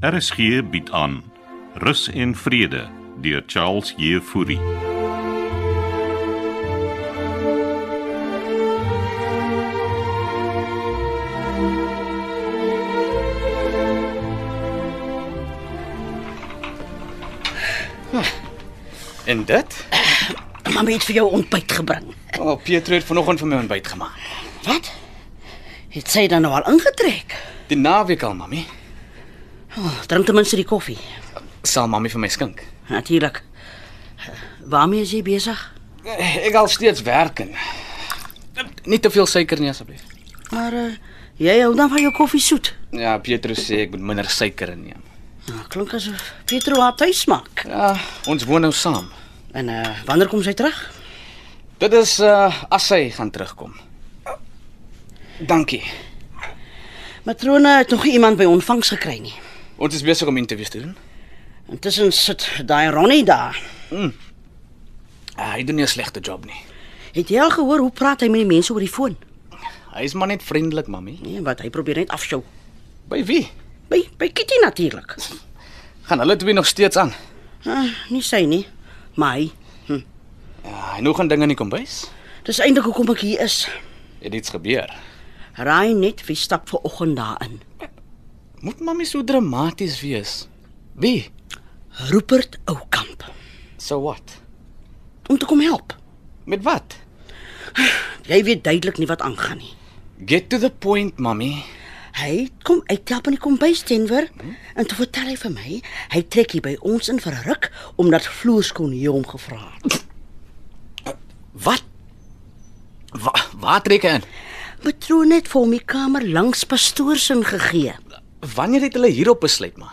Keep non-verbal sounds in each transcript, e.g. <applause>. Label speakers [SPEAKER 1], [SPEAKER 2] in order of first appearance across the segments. [SPEAKER 1] RSG bied aan Rus en Vrede deur Charles Jefouri.
[SPEAKER 2] En dit?
[SPEAKER 3] Mamma het vir jou ontbyt gebring.
[SPEAKER 2] O, oh, Pietro het vanoggend vir my ontbyt gemaak.
[SPEAKER 3] Wat? Het sy dan nou al ingetrek?
[SPEAKER 2] Die naweek al, mami.
[SPEAKER 3] Oh, drink ten minste die koffie.
[SPEAKER 2] Sal mami vir my skink.
[SPEAKER 3] Natuurlik. Waarmee is jy besig?
[SPEAKER 2] Eh, Ek al steeds werk en nie te veel suiker nie asseblief.
[SPEAKER 3] Maar uh, jy hou dan van jou koffie soet.
[SPEAKER 2] Ja, Pietro sê ek moet minder suiker inneem.
[SPEAKER 3] Nou, klink asof Pietro haar tuis maak.
[SPEAKER 2] Ja, ons woon nou saam.
[SPEAKER 3] En uh, wanneer kom sy terug?
[SPEAKER 2] Dit is uh as sy gaan terugkom. Dankie.
[SPEAKER 3] Matrone het nog nie iemand by ontvangs gekry nie.
[SPEAKER 2] Ons is besig om interviews te doen.
[SPEAKER 3] Intussen sit daai Ronnie daar.
[SPEAKER 2] Ah, hy doen nie 'n slegte job nie.
[SPEAKER 3] Het jy al gehoor hoe praat hy met die mense oor die foon?
[SPEAKER 2] Hy is maar net vriendelik, mami.
[SPEAKER 3] Nee, wat hy probeer net afsjou.
[SPEAKER 2] By wie?
[SPEAKER 3] By by Kitty natuurlik.
[SPEAKER 2] Gaan hulle twee nog steeds aan?
[SPEAKER 3] Uh, nie sy nie, maar hy.
[SPEAKER 2] Ja, hy nou gaan dinge in die kombuis.
[SPEAKER 3] Dis eintlik hoekom ek hier is.
[SPEAKER 2] Het iets gebeur.
[SPEAKER 3] Raai net wie stap ver oggend daarin.
[SPEAKER 2] Moet mami so dramaties wees? Wie?
[SPEAKER 3] Rupert Oukamp
[SPEAKER 2] So what?
[SPEAKER 3] om te kom help.
[SPEAKER 2] Met wat?
[SPEAKER 3] Jy weet duidelik nie wat aangaan nie.
[SPEAKER 2] Get to the point, mami.
[SPEAKER 3] Hy kom uithelp in die kombuis tenwer en toe vertel hy vir my, hy trek hier by ons in vir 'n ruk omdat vloerskoon hier hom gevra het.
[SPEAKER 2] Wat? Wa waar trek hy in?
[SPEAKER 3] Patroon het vir hom die kamer langs pastoors ingegee.
[SPEAKER 2] Wanneer het hulle hierop besluit, ma?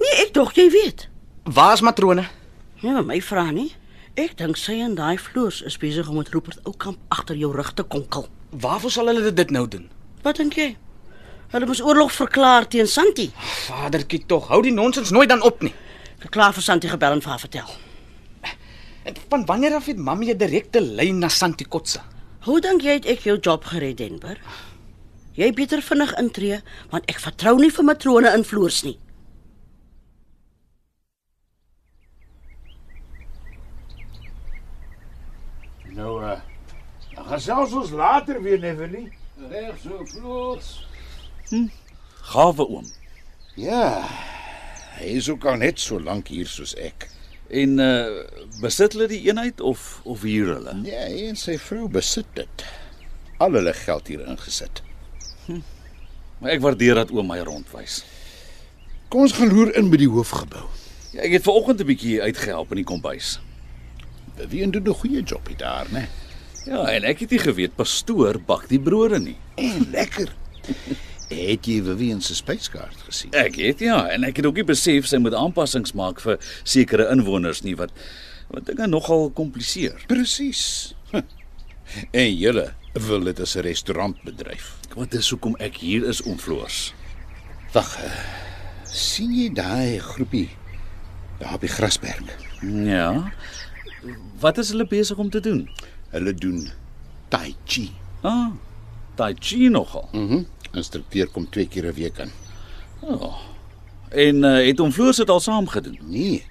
[SPEAKER 3] Nee, ek dink jy weet.
[SPEAKER 2] Waar's matrone?
[SPEAKER 3] Nee, maar my vra nie. Ek dink sy en daai vloers is besig om met Rupert Oukamp agter jou rug te konkel.
[SPEAKER 2] Waarvoor sal hulle dit nou doen?
[SPEAKER 3] Wat dink jy? Hulle moes oorlog verklaar teen Santi.
[SPEAKER 2] Vadertjie tog, hou die nonsens nooit dan op nie.
[SPEAKER 3] Ek het klaar vir Santi gebel en vir haar vertel.
[SPEAKER 2] En van wanneer af het mamma 'n direkte lyn na Santikotsa?
[SPEAKER 3] Hoe dink jy het ek jou job gered, Denver? Jy beter vinnig intree, want ek vertrou nie vir matrone in vloers nie.
[SPEAKER 4] Nou, uh, dan gesels ons later weer, Nevelie.
[SPEAKER 5] Reg so vloots.
[SPEAKER 6] Gawe oom.
[SPEAKER 5] Ja. Hy is ook al net so lank hier soos ek.
[SPEAKER 6] En uh besit hulle die eenheid of of huur hulle?
[SPEAKER 5] Nee, hy en sy vrou besit dit. Al hulle geld hier ingesit.
[SPEAKER 6] Maar ek waardeer dat oom my rondwys.
[SPEAKER 5] Kom ons gaan loer in by die hoofgebou.
[SPEAKER 6] Ja, ek het ver oggend 'n bietjie uitgehelp in die kombuis.
[SPEAKER 5] Wie doen 'n goeie jobie daar, né?
[SPEAKER 6] Ja, en ek het nie geweet pastoor bak die brode nie.
[SPEAKER 5] En lekker. Het jy Vivian se spyskaart gesien?
[SPEAKER 6] Ek het ja, en ek het ook nie besef sy moet aanpassings maak vir sekere inwoners nie wat wat dinge nogal kompliseer.
[SPEAKER 5] Presies. Hm. En julle wil dit as 'n restaurantbedryf.
[SPEAKER 6] Wat is hoekom ek hier is om floors.
[SPEAKER 5] Wag. eh, sien jy daai groepie daar op die grasberg?
[SPEAKER 6] Ja. Wat is hulle besig om te doen?
[SPEAKER 5] Hulle doen tai chi.
[SPEAKER 6] Ah, tai chi nogal.
[SPEAKER 5] Mhm. Mm Instrukteur kom twee keer 'n week aan.
[SPEAKER 6] En uh, het hom floors dit al saam gedoen.
[SPEAKER 5] Nee.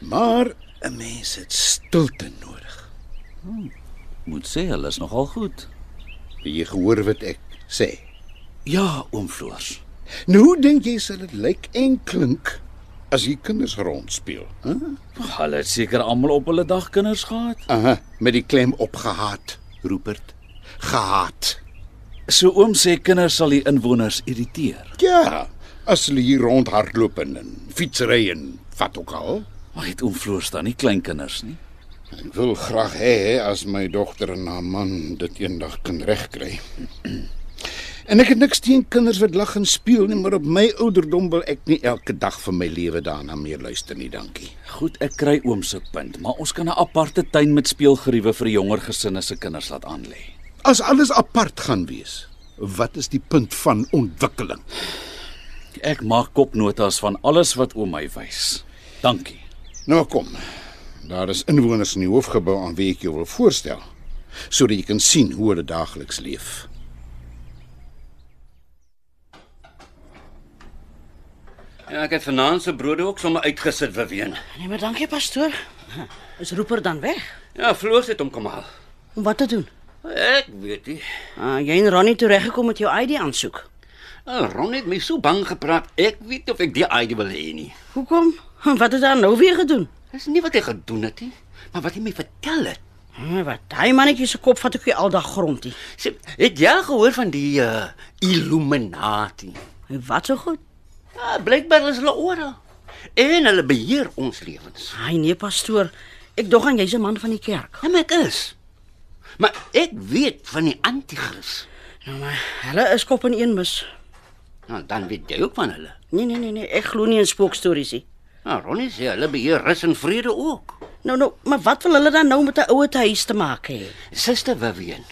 [SPEAKER 5] Maar 'n mens het stilte nodig.
[SPEAKER 6] Moet sê hulle is nogal goed.
[SPEAKER 5] Het jy gehoor wat ek sê?
[SPEAKER 6] Ja, oom Floors.
[SPEAKER 5] Nou hoe dink jy sal dit lyk en klink as hier kinders rondspeel? Hæ? Huh?
[SPEAKER 6] Hulle het seker almal op hulle dag kinders gehad.
[SPEAKER 5] Aha, met die klem op gehaat, Rupert. Gehaat.
[SPEAKER 6] So oom sê kinders sal die inwoners irriteer.
[SPEAKER 5] Ja, as hulle hier rondhardloop en, en fietsry en wat ook al.
[SPEAKER 6] Maar het oom Floors dan nie klein kinders nie?
[SPEAKER 5] Ek wil graag hê as my dogter en haar man dit eendag kan regkry. En ek het niks teen kinders wat lag en speel nie, maar op my ouderdom wil ek nie elke dag van my lewe daarna meer luister nie, dankie.
[SPEAKER 6] Goed, ek kry oom se punt, maar ons kan 'n aparte tuin met speelgeriewe vir jonger gesinne se kinders laat aanlê.
[SPEAKER 5] As alles apart gaan wees, wat is die punt van ontwikkeling?
[SPEAKER 6] Ek maak kopnotas van alles wat oom my wys. Dankie.
[SPEAKER 5] Nou kom. Daar is inwoners in die hoofgebou aan wie ek jou wil voorstel, sodat jy kan sien hoe hulle daagliks leef.
[SPEAKER 7] Ja, ek het vanaand se brode ook sommer uitgesit vir ween.
[SPEAKER 3] Nee, maar dankie pastoor. Is roeper dan weg?
[SPEAKER 7] Ja, Floos het hom kom haal.
[SPEAKER 3] Om wat te doen?
[SPEAKER 7] Ek weet nie.
[SPEAKER 3] Ah, jy en Ronnie toe reggekom met jou ID aansoek.
[SPEAKER 7] Ah, Ron het my so bang gepraat. Ek weet nie of ek die ID wil hê nie.
[SPEAKER 3] Hoekom? <laughs> Wat het daar nou weer gedoen?
[SPEAKER 7] Dis nie wat hy gedoen het nie, maar wat hy my vertel het.
[SPEAKER 3] Hm, wat daai mannetjie se kop vat ek hier al dag grond hier.
[SPEAKER 7] Sê, het jy al gehoor van die uh, Illuminati?
[SPEAKER 3] En Wat so goed?
[SPEAKER 7] Ja, blykbaar is hulle oral. En hulle beheer ons lewens.
[SPEAKER 3] Ai nee pastoor, ek dog aan jy's 'n man van die kerk.
[SPEAKER 7] En ek is. Maar ek weet van die anti-kris.
[SPEAKER 3] Nou maar, hulle is kop in een mis.
[SPEAKER 7] Nou, dan weet jy ook van hulle.
[SPEAKER 3] Nee nee nee nee, ek glo nie in spookstories nie.
[SPEAKER 7] Nou, Ronnie sê hulle beheer rus en vrede ook.
[SPEAKER 3] Nou nou, maar wat wil hulle dan nou met 'n ouer huis te maak hê?
[SPEAKER 7] Suster Vivian.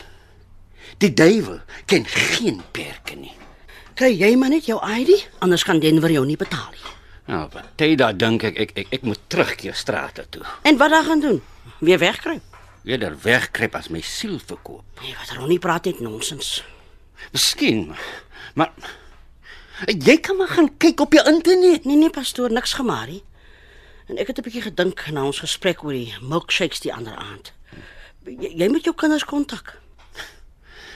[SPEAKER 7] Die duiwel ken geen perke nie.
[SPEAKER 3] Kry jy maar net jou ID, anders kan Denver jou nie betaal nie.
[SPEAKER 7] Nou, party daar dink ek ek ek, ek moet terugkeer strate toe.
[SPEAKER 3] En wat dan gaan doen? Weer wegkruip?
[SPEAKER 7] Eerder wegkruip as my siel verkoop.
[SPEAKER 3] Nee, wat Ronnie praat net nonsens.
[SPEAKER 7] Miskien, maar jy kan maar gaan kyk op die internet.
[SPEAKER 3] Nee nee pastoor, niks gemaak nie. En ek het 'n bietjie gedink na ons gesprek oor die milkshakes die ander aand. Jy, jy moet jou kinders kontak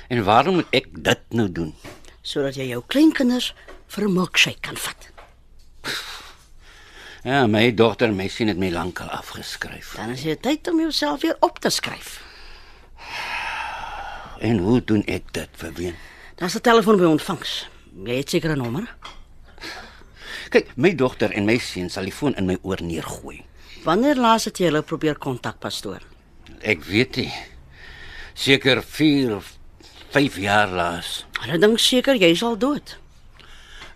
[SPEAKER 7] En waarom moet ek dit nou doen?
[SPEAKER 3] sodat jy jou kleinkinders vir 'n milkshake kan vat.
[SPEAKER 7] Ja, my dogter, my sien dit my lankal afgeskryf.
[SPEAKER 3] Dan is dit tyd om jouself weer op te skryf.
[SPEAKER 7] En hoe doen ek dit vir wie?
[SPEAKER 3] Daar's 'n telefoon by ontvangs. Jy het seker 'n nommer.
[SPEAKER 7] Kyk, my dogter en my seun sal die foon in my oor neergooi.
[SPEAKER 3] Wanneer laas het jy hulle probeer kontak pastoor?
[SPEAKER 7] Ek weet nie. Seker 4 of 5 jaar laas.
[SPEAKER 3] Hulle dink seker jy is al dood.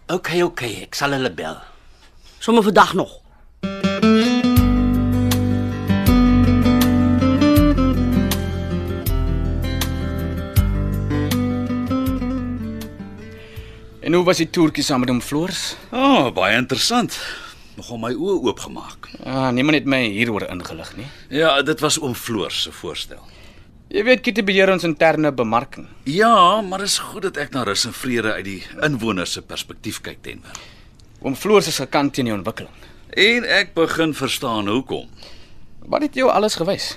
[SPEAKER 7] OK, OK, ek sal hulle bel.
[SPEAKER 3] Sommige vandag nog.
[SPEAKER 2] En hoe was die toertjie saam met hom Floors?
[SPEAKER 6] O, oh, baie interessant. Nogal my oë oopgemaak.
[SPEAKER 2] Ah, niemand het my hieroor ingelig nie.
[SPEAKER 6] Ja, dit was oom Floor se voorstel.
[SPEAKER 2] Jy weet Kitty beheer ons interne bemarking.
[SPEAKER 6] Ja, maar is goed dat ek na rus en vrede uit die inwoners se perspektief kyk tenwer.
[SPEAKER 2] Oom Floors is gekant teen die ontwikkeling.
[SPEAKER 6] En ek begin verstaan hoekom.
[SPEAKER 2] Wat het jou alles gewys?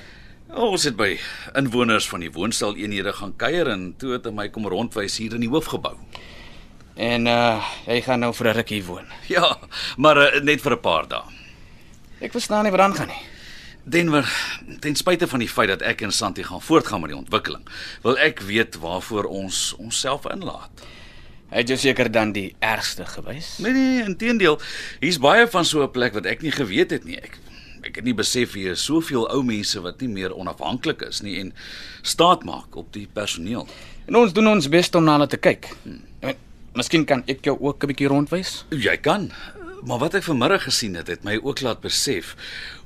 [SPEAKER 6] Ons het by inwoners van die woonsteleenhede gaan kuier en toe het hy my kom rondwys hier in die hoofgebou.
[SPEAKER 2] En uh jy gaan nou vir 'n rukkie woon.
[SPEAKER 6] Ja, maar uh, net vir 'n paar dae.
[SPEAKER 2] Ek verstaan nie wat aangaan nie.
[SPEAKER 6] Denver, ten spyte van die feit dat ek en Santi gaan voortgaan met die ontwikkeling, wil ek weet waarvoor ons onsself inlaat.
[SPEAKER 2] Hy het jou seker dan die ergste gewys.
[SPEAKER 6] Nee nee, inteendeel, hier's baie van so 'n plek wat ek nie geweet het nie. Ek ek het nie besef hier is soveel ou mense wat nie meer onafhanklik is nie en staat maak op die personeel.
[SPEAKER 2] En ons doen ons bes om na hulle te kyk. Ek weet, miskien kan ek jou ook 'n bietjie rondwys.
[SPEAKER 6] Jy kan, maar wat ek vanmiddag gesien het, het my ook laat besef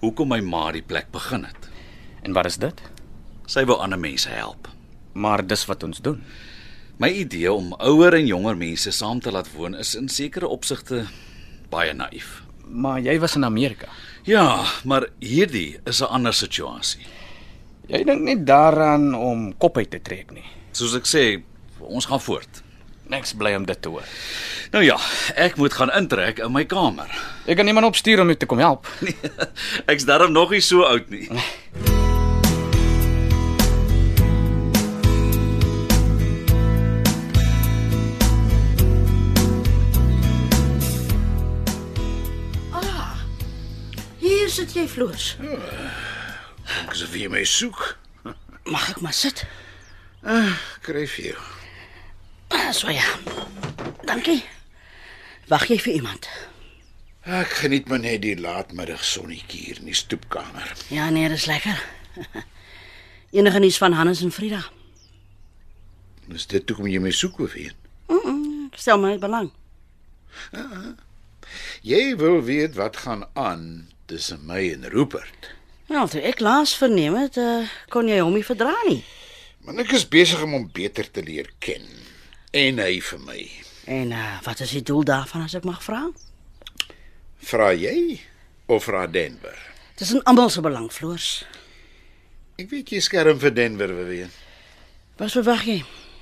[SPEAKER 6] hoekom my ma die plek begin het.
[SPEAKER 2] En wat is dit?
[SPEAKER 6] Sy wou ander mense help.
[SPEAKER 2] Maar dis wat ons doen.
[SPEAKER 6] My idee om ouer en jonger mense saam te laat woon is in sekere opsigte baie naïef.
[SPEAKER 2] Maar jy was in Amerika.
[SPEAKER 6] Ja, maar hierdie is 'n ander situasie.
[SPEAKER 2] Jy dink nie daaraan om kop uit te trek nie.
[SPEAKER 6] Soos ek sê, ons gaan voort.
[SPEAKER 2] Niks bly om dit te hoor.
[SPEAKER 6] Nou ja, ek moet gaan intrek in my kamer. <laughs>
[SPEAKER 2] Ek kan iemand opstuur om jou te kom help.
[SPEAKER 6] Nee, ek's darm nog nie so oud nie.
[SPEAKER 3] Hier sit jy floors.
[SPEAKER 5] Ek sê vir my soek.
[SPEAKER 3] Mag ek maar sit?
[SPEAKER 5] Kry vir jou.
[SPEAKER 3] Ah, So ja. Dankie. Wag jy vir iemand?
[SPEAKER 5] Ek geniet maar net die laatmiddagsonnetjie hier in die stoepkamer.
[SPEAKER 3] Ja, nee, dis lekker. <laughs> Enige nuus van Hannes en Frida?
[SPEAKER 5] Dis dit hoekom jy my soek of hier.
[SPEAKER 3] Ek stel my belang.
[SPEAKER 5] Jy wil weet wat gaan aan tussen my en Rupert.
[SPEAKER 3] Ja, Nou, toe ek laas verneem het, uh, kon jy hom nie verdra nie.
[SPEAKER 5] Maar ek is besig om hom beter te leer ken en hy vir my.
[SPEAKER 3] En uh, wat is die doel daarvan as ek mag vra?
[SPEAKER 5] Vra jy of vra Denver?
[SPEAKER 3] Dis in almal se belang, Floors.
[SPEAKER 5] Ek weet jy skerm vir Denver weer.
[SPEAKER 3] Wat verwag jy?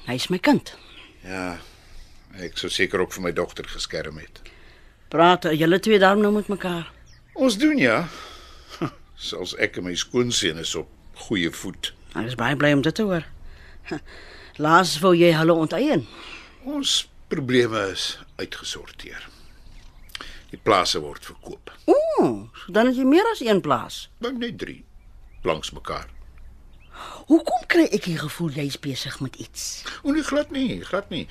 [SPEAKER 3] Hy's my kind.
[SPEAKER 5] Ja. Ek sou seker ook vir my dogter geskerm het.
[SPEAKER 3] Praat julle twee daarom nou met mekaar.
[SPEAKER 5] Ons doen ja. <laughs> Selfs ek en my skoonseun is op goeie voet.
[SPEAKER 3] Ek is baie bly om dit te hoor. <laughs> Laas wou jy hulle onteien.
[SPEAKER 5] Ons probleme is uitgesorteer. Die plase word verkoop.
[SPEAKER 3] Ooh, so dan het jy meer as een plaas.
[SPEAKER 5] Dink net 3 langs mekaar.
[SPEAKER 3] Hoekom kry ek die gevoel jy's besig met iets?
[SPEAKER 5] O nee, glad nie, glad nie.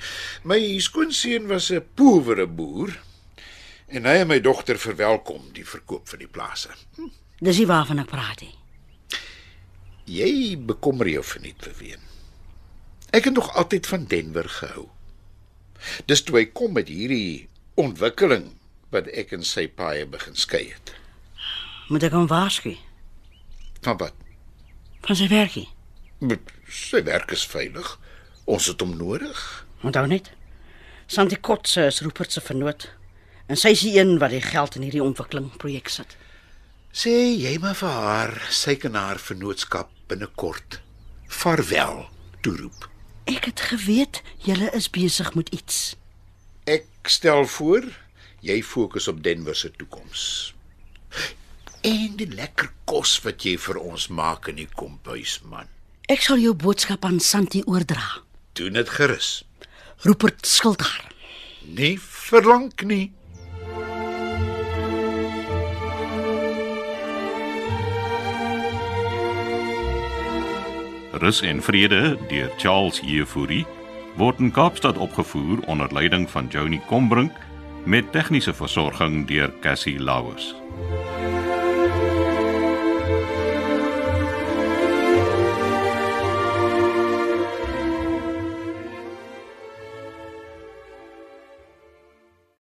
[SPEAKER 5] My skoonseun was 'n poewere boer en hy en my dogter verwelkom die verkoop van die plase.
[SPEAKER 3] Dis nie waarvan ek praat nie.
[SPEAKER 5] Jy bekommer jou verniet verween. Ek het nog altyd van Denver gehou. Dis toe hy kom met hierdie ontwikkeling wat ek en sy paai begin skei het.
[SPEAKER 3] Moet ek hom waarsku
[SPEAKER 5] Van wat?
[SPEAKER 3] van sy werkie?
[SPEAKER 5] Met- Sy werk is veilig. Ons het hom nodig.
[SPEAKER 3] Onthou net. Santi Kotse is Rupert se vernoot en sy is die een wat die geld in hierdie ontwikkeling projek sit.
[SPEAKER 5] Sê jy maar vir haar, sy kan haar vennootskap binnekort vaarwel toeroep.
[SPEAKER 3] Ek het geweet julle is besig met iets.
[SPEAKER 5] Ek stel voor jy fokus op Denver se toekoms. En die lekker kos wat jy vir ons maak in die kombuis man.
[SPEAKER 3] Ek sal jou boodskap aan Santi oordra.
[SPEAKER 5] Doen dit gerus.
[SPEAKER 3] Rupert skuld haar.
[SPEAKER 5] Nie verlang nie.
[SPEAKER 1] Rus en Vrede deur Charles Jefouri word in Kaapstad opgevoer onder leiding van Johnny Combrink met tegniese versorging deur Cassie Lauers.